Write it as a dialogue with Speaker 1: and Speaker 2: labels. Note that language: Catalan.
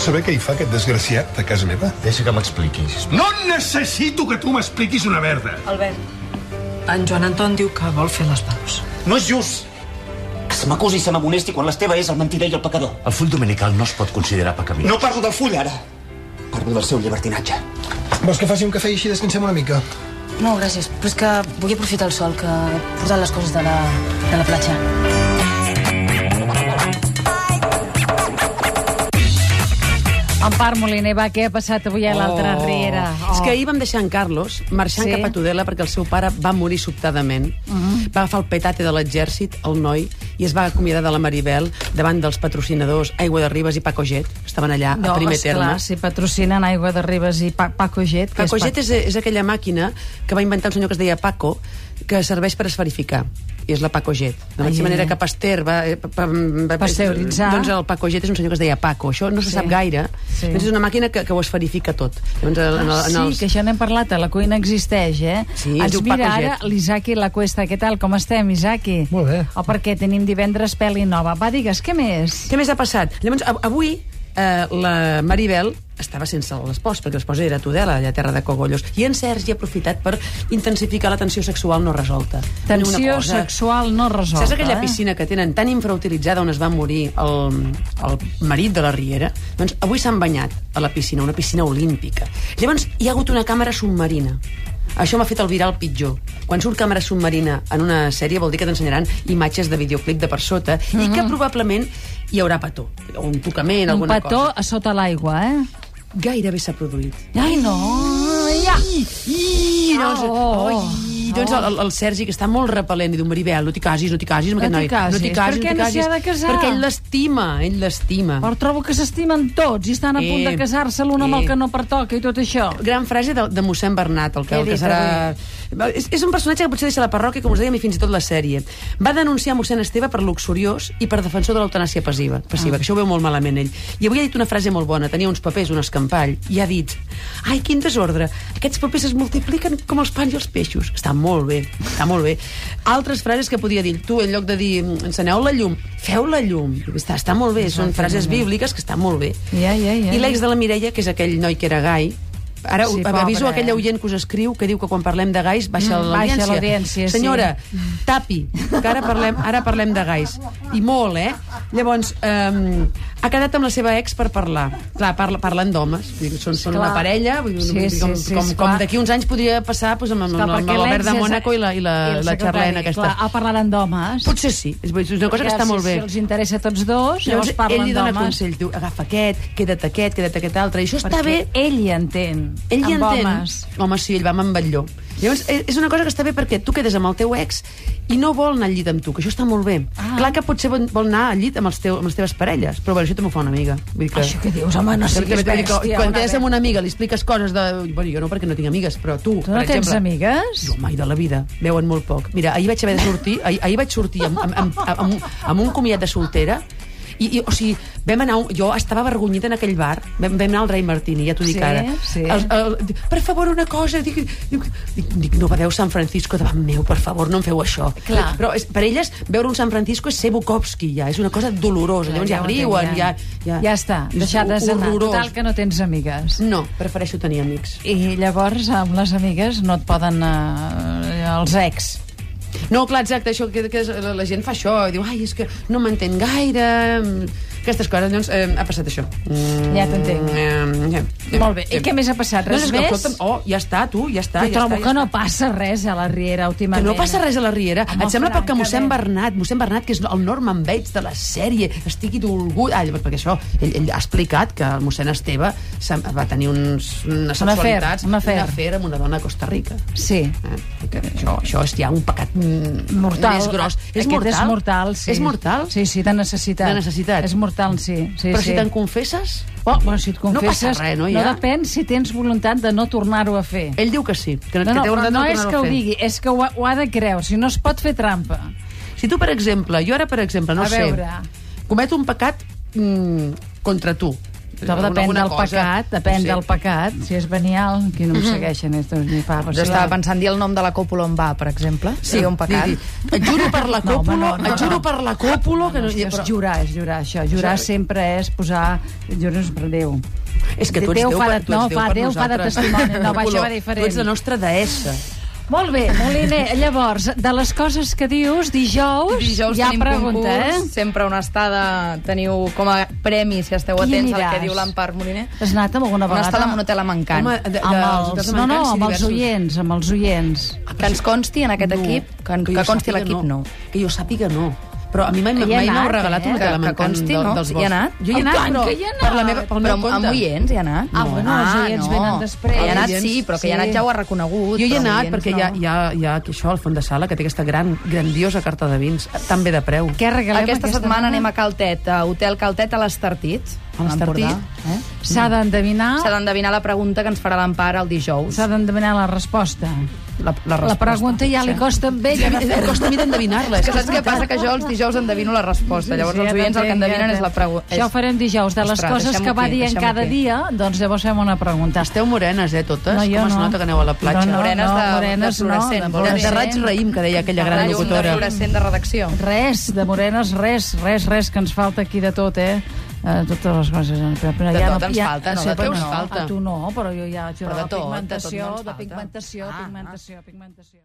Speaker 1: saber què hi fa aquest desgraciat a casa meva?
Speaker 2: Deixa que m'expliquis.
Speaker 1: No necessito que tu m'expliquis una merda.
Speaker 3: Albert, en Joan Anton diu que vol fer les paus.
Speaker 4: No és just que se m'acusi i se m'amonesti quan l'Esteve és el mentider i el pecador.
Speaker 2: El full dominical no es pot considerar pecamí.
Speaker 4: No parlo del full, ara. Parlo del seu llibertinatge.
Speaker 5: Vols que faci un cafè i així descansem una mica?
Speaker 6: No, gràcies, però és que vull aprofitar el sol que he portat les coses de la, de la platja.
Speaker 7: Empar Moliner, va, què ha passat avui a l'altra oh. riera?
Speaker 8: Oh. És que ahir vam deixar en Carlos marxant
Speaker 7: Sí? Mhm.
Speaker 8: sí? cap a Tudela perquè el seu pare va morir sobtadament. Uh -huh. Va agafar el petate de l'exèrcit, el noi, i es va acomiadar de la Maribel davant dels patrocinadors Aigua de Ribes i Paco Jet, que estaven allà a primer
Speaker 7: esclar,
Speaker 8: terme.
Speaker 7: si patrocinen Aigua de Ribes i pa Paco Jet... que
Speaker 8: Paco
Speaker 7: és
Speaker 8: Jet és, és aquella màquina que va inventar un senyor que es deia Paco, que serveix per esferificar i és la Paco Jet. De
Speaker 7: Ai,
Speaker 8: la mateixa manera
Speaker 7: ai,
Speaker 8: que Pasteur va... eh, pa- va
Speaker 7: Pasteuritzar.
Speaker 8: Doncs el Paco Jet és un senyor que es deia Paco. Això no se
Speaker 7: Sí.
Speaker 8: sí. sap gaire.
Speaker 7: Sí. Ah,
Speaker 8: Sí. Doncs és una màquina que, que ho esferifica tot. Llavors, en el, en
Speaker 7: Sí,
Speaker 8: els...
Speaker 7: que això n'hem parlat, a la cuina existeix, eh?
Speaker 8: Sí, es
Speaker 7: Ens
Speaker 8: diu
Speaker 7: mira
Speaker 8: Paco
Speaker 7: ara
Speaker 8: Jet.
Speaker 7: l'Isaki La Cuesta. Què tal? Com estem, Isaki?
Speaker 5: Molt bé.
Speaker 7: O perquè tenim divendres pel·li nova. Va, digues, què més?
Speaker 8: Què més ha passat? Llavors, av- avui eh, la Maribel estava sense l'espòs, perquè l'espòs era a Tudela, allà a Terra de Cogollos, i en Sergi ha aprofitat per intensificar la tensió sexual no resolta. Tenir
Speaker 7: Tensió sexual no resolta,
Speaker 8: Saps aquella
Speaker 7: eh?
Speaker 8: piscina que tenen tan infrautilitzada on es va morir el, el marit de la Riera? Doncs avui s'han banyat a la piscina, una piscina olímpica. Llavors hi ha hagut una càmera submarina. Això m'ha fet el viral pitjor. Quan surt càmera submarina en una sèrie vol dir que t'ensenyaran imatges de videoclip de per sota i que probablement hi haurà petó, o un tocament,
Speaker 7: Mhm. Un
Speaker 8: alguna
Speaker 7: petó
Speaker 8: cosa.
Speaker 7: a sota l'aigua, eh?
Speaker 8: Gairebé s'ha produït.
Speaker 7: Ai, no! Ja.
Speaker 8: I, doncs,
Speaker 7: Oh,
Speaker 8: oh, i, doncs el, el Sergi, que està molt repel·lent, i diu, Maribel, no t'hi casis, no t'hi casis amb
Speaker 7: No
Speaker 8: aquest
Speaker 7: t'hi
Speaker 8: noi. No t'hi
Speaker 7: casis. Per
Speaker 8: casis,
Speaker 7: què
Speaker 8: no
Speaker 7: no
Speaker 8: t'hi
Speaker 7: s'hi
Speaker 8: casis.
Speaker 7: ha de casar?
Speaker 8: Perquè ell l'estima, ell l'estima.
Speaker 7: Però trobo que s'estimen tots i estan a punt
Speaker 8: Eh,
Speaker 7: de casar-se l'un amb
Speaker 8: eh.
Speaker 7: el que no pertoca i tot això.
Speaker 8: Gran frase de, de mossèn Bernat, el que,
Speaker 7: Què ha
Speaker 8: el que
Speaker 7: dit
Speaker 8: serà... És, és un personatge que potser deixa la parròquia, com us dèiem, i fins i tot la sèrie. Va denunciar mossèn Esteve per luxuriós i per defensor de l'eutanàsia passiva, passiva ah. que això ho veu molt malament ell. I avui ha dit una frase molt bona, tenia uns papers, un escampall, i ha dit Ai, quin desordre, aquests papers es multipliquen com els pans i els peixos. Està molt bé, està molt bé. Altres frases que podia dir, tu, en lloc de dir enceneu la llum, feu la llum. Està, està molt bé, són frases bíbliques que estan molt bé.
Speaker 7: Ja, ja, ja,
Speaker 8: I
Speaker 7: ja.
Speaker 8: l'ex de la Mireia, que és aquell noi que era gai, Ara
Speaker 7: Sí,
Speaker 8: sí,
Speaker 7: pobre,
Speaker 8: aviso a aquella
Speaker 7: eh?
Speaker 8: oient que us escriu que diu que quan parlem de gais baixa
Speaker 7: Mm,
Speaker 8: l'audiència.
Speaker 7: baixa l'audiència, sí.
Speaker 8: Senyora, tapi, que ara parlem, ara parlem de gais. I molt, eh? Llavors, eh, ha quedat amb la seva ex per parlar. Clar, parla, parlen d'homes. Vull dir, Són, són
Speaker 7: Esclar.
Speaker 8: una parella, vull dir,
Speaker 7: Sí, sí,
Speaker 8: com,
Speaker 7: sí,
Speaker 8: com,
Speaker 7: esclar.
Speaker 8: com d'aquí uns anys podria passar doncs, amb, amb,
Speaker 7: Clar,
Speaker 8: amb, amb
Speaker 7: perquè
Speaker 8: l'Albert
Speaker 7: l'ex
Speaker 8: de
Speaker 7: és-
Speaker 8: Mònaco i la, i la,
Speaker 7: el
Speaker 8: la
Speaker 7: secretari,
Speaker 8: Charlene aquesta.
Speaker 7: Clar, ha parlat en d'homes.
Speaker 8: Potser sí, és, és una cosa que
Speaker 7: Perquè
Speaker 8: està
Speaker 7: si-
Speaker 8: molt bé.
Speaker 7: Si els interessa a tots dos, llavors,
Speaker 8: Llavors, ell
Speaker 7: parlen
Speaker 8: li dona
Speaker 7: d'homes.
Speaker 8: consell, diu, agafa aquest, queda't aquest, queda't aquest altre, i això està bé,
Speaker 7: Perquè ell hi entén.
Speaker 8: ell hi
Speaker 7: amb
Speaker 8: entén.
Speaker 7: Homes.
Speaker 8: Home, sí, ell va amb en Batlló. Llavors, eh, és una cosa que està bé perquè tu quedes amb el teu ex i no vol anar al llit amb tu, que això està molt bé.
Speaker 7: Ah.
Speaker 8: Ah. Clar que potser vol vol anar al llit amb, els teu, amb les teves parelles, però bueno, això també ho fa una amiga. Vull dir que...
Speaker 7: Això que dius, home, no
Speaker 8: Vull
Speaker 7: siguis
Speaker 8: dir que-
Speaker 7: bèstia,
Speaker 8: Quan
Speaker 7: una
Speaker 8: quedes
Speaker 7: vegada.
Speaker 8: amb una amiga, li expliques coses de... Bueno, jo no, perquè no tinc amigues, però tu,
Speaker 7: Tu no
Speaker 8: per
Speaker 7: tens
Speaker 8: exemple...
Speaker 7: amigues?
Speaker 8: No, mai de la vida. Veuen molt poc. Mira, ahir vaig haver de sortir, ahir, ahir vaig sortir amb, amb, amb, amb, un- amb un comiat de soltera i, i o sigui, vam anar... a Un, jo estava avergonyida en aquell bar. Vam, vam anar al Rei Martini, ja t'ho dic
Speaker 7: Sí,
Speaker 8: ara.
Speaker 7: sí.
Speaker 8: El, el, dic, per favor, una cosa. Dic, dic, dic, dic, no vedeu San Francisco davant meu, per favor, no em feu això.
Speaker 7: Clar.
Speaker 8: Però és, per elles, veure un San Francisco és ser Bukowski, ja. És una cosa dolorosa. Llavors ja,
Speaker 7: ho
Speaker 8: riuen,
Speaker 7: entenc,
Speaker 8: ja...
Speaker 7: ja... ja està,
Speaker 8: És
Speaker 7: deixades anar.
Speaker 8: horrorós.
Speaker 7: Total, que no tens amigues.
Speaker 8: No, prefereixo tenir amics.
Speaker 7: I llavors, amb les amigues, no et poden... Eh, els ex.
Speaker 8: No, clar, exacte, això que, que és- la, la gent fa això, i diu, ai, és que no m'entén gaire... mm, Aquestes coses, doncs, eh, ha passat això. Mm,
Speaker 7: Ja t'entenc.
Speaker 8: Eh, eh, eh,
Speaker 7: Molt bé. I
Speaker 8: eh.
Speaker 7: què més ha passat? Res
Speaker 8: no, és que,
Speaker 7: més?
Speaker 8: escolta'm, Oh, ja està, tu, ja està.
Speaker 7: Jo
Speaker 8: ja
Speaker 7: trobo
Speaker 8: està,
Speaker 7: que
Speaker 8: ja
Speaker 7: no
Speaker 8: està.
Speaker 7: passa res a la Riera
Speaker 8: Que
Speaker 7: últimament. eh?
Speaker 8: no passa res a la Riera.
Speaker 7: Home,
Speaker 8: Et sembla poc que mossèn
Speaker 7: francament.
Speaker 8: Bernat, mossèn Bernat, que és el Norman Bates de la sèrie, estigui dolgut... Ah, perquè això, ell, ell ha explicat que el mossèn Esteve s'ha- va tenir uns, unes
Speaker 7: Un afer,
Speaker 8: sexualitats...
Speaker 7: un afer.
Speaker 8: Un afer amb una dona a Costa Rica.
Speaker 7: Sí.
Speaker 8: Eh? Que Això, això és ja un pecat mm,
Speaker 7: Mortal.
Speaker 8: més gros.
Speaker 7: Aquest és mortal, sí.
Speaker 8: És mortal?
Speaker 7: Sí, sí, de necessitat.
Speaker 8: De necessitat.
Speaker 7: És mortal, sí. sí
Speaker 8: Però
Speaker 7: sí.
Speaker 8: si te'n confesses...
Speaker 7: Oh, bueno, si et confesses,
Speaker 8: No passa res, no,
Speaker 7: no
Speaker 8: ja?
Speaker 7: depèn si tens voluntat de no tornar-ho a fer.
Speaker 8: Ell diu que sí, que,
Speaker 7: No, no,
Speaker 8: que té
Speaker 7: però
Speaker 8: voluntat de
Speaker 7: no és
Speaker 8: tornar-ho
Speaker 7: que
Speaker 8: a
Speaker 7: ho
Speaker 8: fer.
Speaker 7: digui, és que ho ha, ho ha de creure, si no es pot fer trampa.
Speaker 8: Si tu, per exemple, jo ara, per exemple, no
Speaker 7: A
Speaker 8: ho sé,
Speaker 7: veure.
Speaker 8: comet un pecat mm, contra tu,
Speaker 7: Tot depèn
Speaker 9: alguna
Speaker 7: del
Speaker 9: cosa.
Speaker 7: pecat, depèn
Speaker 9: Sí.
Speaker 7: del pecat. Si és venial, que no em
Speaker 8: Mhm.
Speaker 7: segueixen estos ni papos.
Speaker 9: Jo estava pensant dir el nom de la còpula on va, per exemple. Sí, un pecat.
Speaker 8: Dir, dir, Et juro per la
Speaker 7: No, home,
Speaker 8: còpula,
Speaker 7: no, no,
Speaker 8: et juro
Speaker 7: no.
Speaker 8: per la còpula... Que no,
Speaker 7: Hòstia,
Speaker 8: però-
Speaker 7: és jurar, és jurar, això. Jurar sempre és posar... Jo no és per Déu.
Speaker 8: És que tu ets Déu,
Speaker 7: fa de,
Speaker 8: per, tu
Speaker 7: no,
Speaker 8: ets Déu
Speaker 7: fa,
Speaker 8: per
Speaker 7: Déu fa de
Speaker 8: nosaltres.
Speaker 7: testimoni. No, va, això va
Speaker 8: Color,
Speaker 7: diferent.
Speaker 8: Tu ets la nostra deessa.
Speaker 7: Molt bé, Moliner, llavors, de les coses que dius, dijous,
Speaker 9: Dijous
Speaker 7: hi ha
Speaker 9: tenim
Speaker 7: pregunta,
Speaker 9: concurs,
Speaker 7: eh?
Speaker 9: sempre una estada teniu com a premi, si esteu
Speaker 7: Qui
Speaker 9: atents al que
Speaker 7: aniràs?
Speaker 9: diu l'Empar Moliner.
Speaker 7: Has anat amb alguna
Speaker 9: Una
Speaker 7: vegada?
Speaker 9: estada amb un hotel a Mancant.
Speaker 7: Home, de, de, amb els, no, no, amb els oients, amb els oients.
Speaker 9: Que ens consti en aquest
Speaker 8: No,
Speaker 9: equip, que, que,
Speaker 8: jo
Speaker 9: que consti a
Speaker 8: sàpiga,
Speaker 9: l'equip no.
Speaker 8: Que jo sàpiga, no. Però a mi mai,
Speaker 7: Hi ha
Speaker 8: mai m'heu
Speaker 7: anat, eh?
Speaker 8: regalat un
Speaker 9: Que-
Speaker 8: hotel
Speaker 9: que
Speaker 8: amb encant
Speaker 9: consti,
Speaker 8: del-
Speaker 9: no?
Speaker 8: dels
Speaker 9: Hi ha
Speaker 8: boscos.
Speaker 9: anat?
Speaker 8: Jo hi
Speaker 7: I
Speaker 8: he anat,
Speaker 7: Oh, tant
Speaker 8: però
Speaker 7: que hi he anat.
Speaker 8: per la meva, pel
Speaker 9: Però
Speaker 8: meu
Speaker 9: amb,
Speaker 8: compte.
Speaker 9: amb oients hi ha anat?
Speaker 7: Ah, bueno, els oients venen després.
Speaker 9: Hi ha anat
Speaker 7: Oients,
Speaker 9: sí, però que hi ha
Speaker 7: sí.
Speaker 9: anat ja ho ha
Speaker 8: Jo
Speaker 9: reconegut.
Speaker 8: hi he
Speaker 9: però
Speaker 8: anat
Speaker 9: oients
Speaker 8: perquè hi ha, hi, ha, hi ha aquí això, al fons de sala, que té aquesta gran, grandiosa carta de vins, tan bé de preu.
Speaker 7: Què regalem
Speaker 9: Aquesta, setmana anem a Caltet, a Hotel Caltet a l'Estartit.
Speaker 8: A l'Estartit.
Speaker 9: Empordà, Eh?
Speaker 7: S'ha d'endevinar...
Speaker 9: S'ha d'endevinar la pregunta que ens farà l'Empar el dijous.
Speaker 7: S'ha d'endevinar la resposta.
Speaker 9: La, la,
Speaker 7: La pregunta ja li costa amb ella de fer
Speaker 8: Em costa a mi d'endevinar-la.
Speaker 9: És que saps què passa? Que jo els dijous endevino la resposta. Llavors els oients el que endevinen és la pregunta.
Speaker 7: Això ho farem dijous. De les
Speaker 9: Ostres,
Speaker 7: coses que
Speaker 9: deixem-ho
Speaker 7: va
Speaker 9: aquí,
Speaker 7: dient
Speaker 9: deixem-ho
Speaker 7: cada
Speaker 9: aquí.
Speaker 7: dia, doncs llavors fem una pregunta.
Speaker 8: Esteu morenes, eh, totes?
Speaker 7: No, jo
Speaker 8: Com es
Speaker 7: no.
Speaker 8: nota que aneu a la platja?
Speaker 7: No, no,
Speaker 9: Morenes
Speaker 7: no,
Speaker 9: de- de
Speaker 7: morenes no,
Speaker 9: fluorescent,
Speaker 7: de
Speaker 9: vol
Speaker 8: De,
Speaker 9: dir.
Speaker 8: de raig raïm, que deia aquella gran
Speaker 9: La llum de
Speaker 8: locutora.
Speaker 9: fluorescent de redacció.
Speaker 7: Res, de morenes, res, res, res, que ens falta aquí de tot, eh? Eh, totes les coses. Però, però
Speaker 9: De
Speaker 7: ja
Speaker 9: tot
Speaker 7: no,
Speaker 9: ens
Speaker 7: ja,
Speaker 9: falta, no?
Speaker 7: sí,
Speaker 9: De
Speaker 7: però
Speaker 9: tot ens falta.
Speaker 7: A tu no, però jo ja... Jo,
Speaker 9: Però
Speaker 7: la
Speaker 9: de tot, de tot no
Speaker 7: pigmentació,
Speaker 9: ens
Speaker 7: de
Speaker 9: falta.
Speaker 7: pigmentació,
Speaker 9: Ah, ah.
Speaker 7: pigmentació, pigmentació.